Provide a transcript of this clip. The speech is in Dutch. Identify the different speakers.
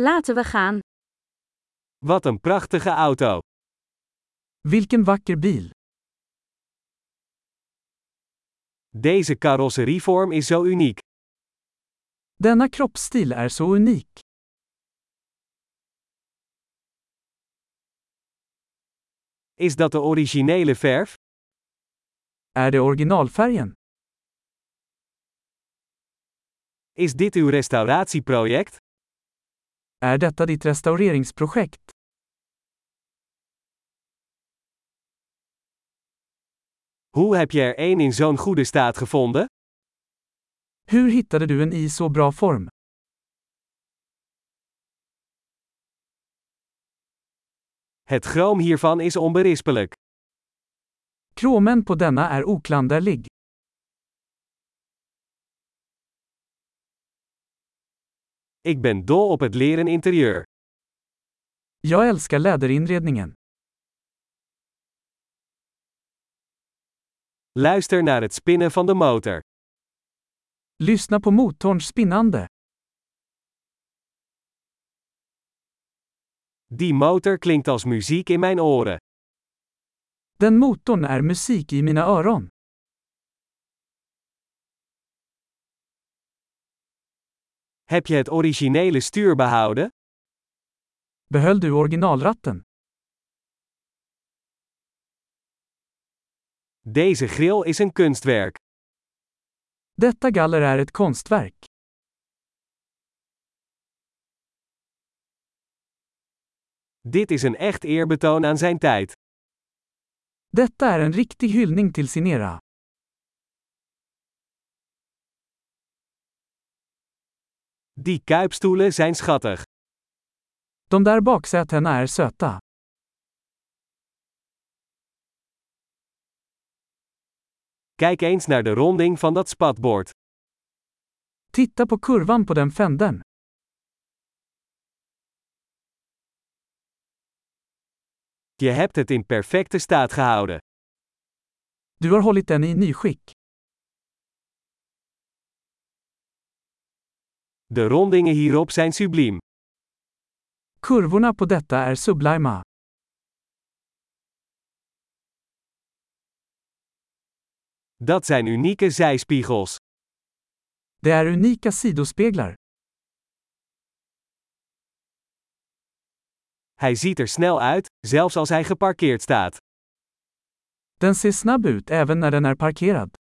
Speaker 1: Laten we gaan.
Speaker 2: Wat een prachtige auto.
Speaker 3: Vilken vacker bil.
Speaker 2: Deze carrosserievorm is zo uniek.
Speaker 3: Denna kroppsstil är så unik.
Speaker 2: Is dat de originele verf?
Speaker 3: Är det originalfärgen?
Speaker 2: Is dit uw restauratieproject?
Speaker 3: Är detta ditt restaureringsprojekt?
Speaker 2: Hoe heb je er één in zo'n goede staat gevonden?
Speaker 3: Hur hittade du en i så bra form?
Speaker 2: Het chroom hiervan is onberispelijk.
Speaker 3: Kromen på denna är oklanderlig.
Speaker 2: Ik ben dol op het leren interieur.
Speaker 3: Jag älskar läderinredningen.
Speaker 2: Luister naar het spinnen van de motor.
Speaker 3: Lyssna på motorns spinnande.
Speaker 2: Die motor klinkt als muziek in mijn oren.
Speaker 3: Den motorn är musik i mina öron.
Speaker 2: Heb je het originele stuur behouden?
Speaker 3: Behöll du originalratten?
Speaker 2: Deze grill is een kunstwerk.
Speaker 3: Detta galler är ett konstverk.
Speaker 2: Dit is een echt eerbetoon aan zijn tijd.
Speaker 3: Detta är en riktig hyllning till sin era.
Speaker 2: Die kuipstoelen zijn schattig.
Speaker 3: De där baksätena är söta.
Speaker 2: Kijk eens naar de ronding van dat spatbord.
Speaker 3: Titta på kurvan på den fänden.
Speaker 2: Je hebt het in perfecte staat gehouden.
Speaker 3: Du har hållit den i nyskick.
Speaker 2: De rondingen hierop zijn subliem.
Speaker 3: Kurvorna på detta är sublima.
Speaker 2: Dat zijn unieke zijspiegels.
Speaker 3: Det är unika sidospeglar.
Speaker 2: Hij ziet er snel uit, zelfs als hij geparkeerd staat.
Speaker 3: Den ser snabb ut även när den är parkerad.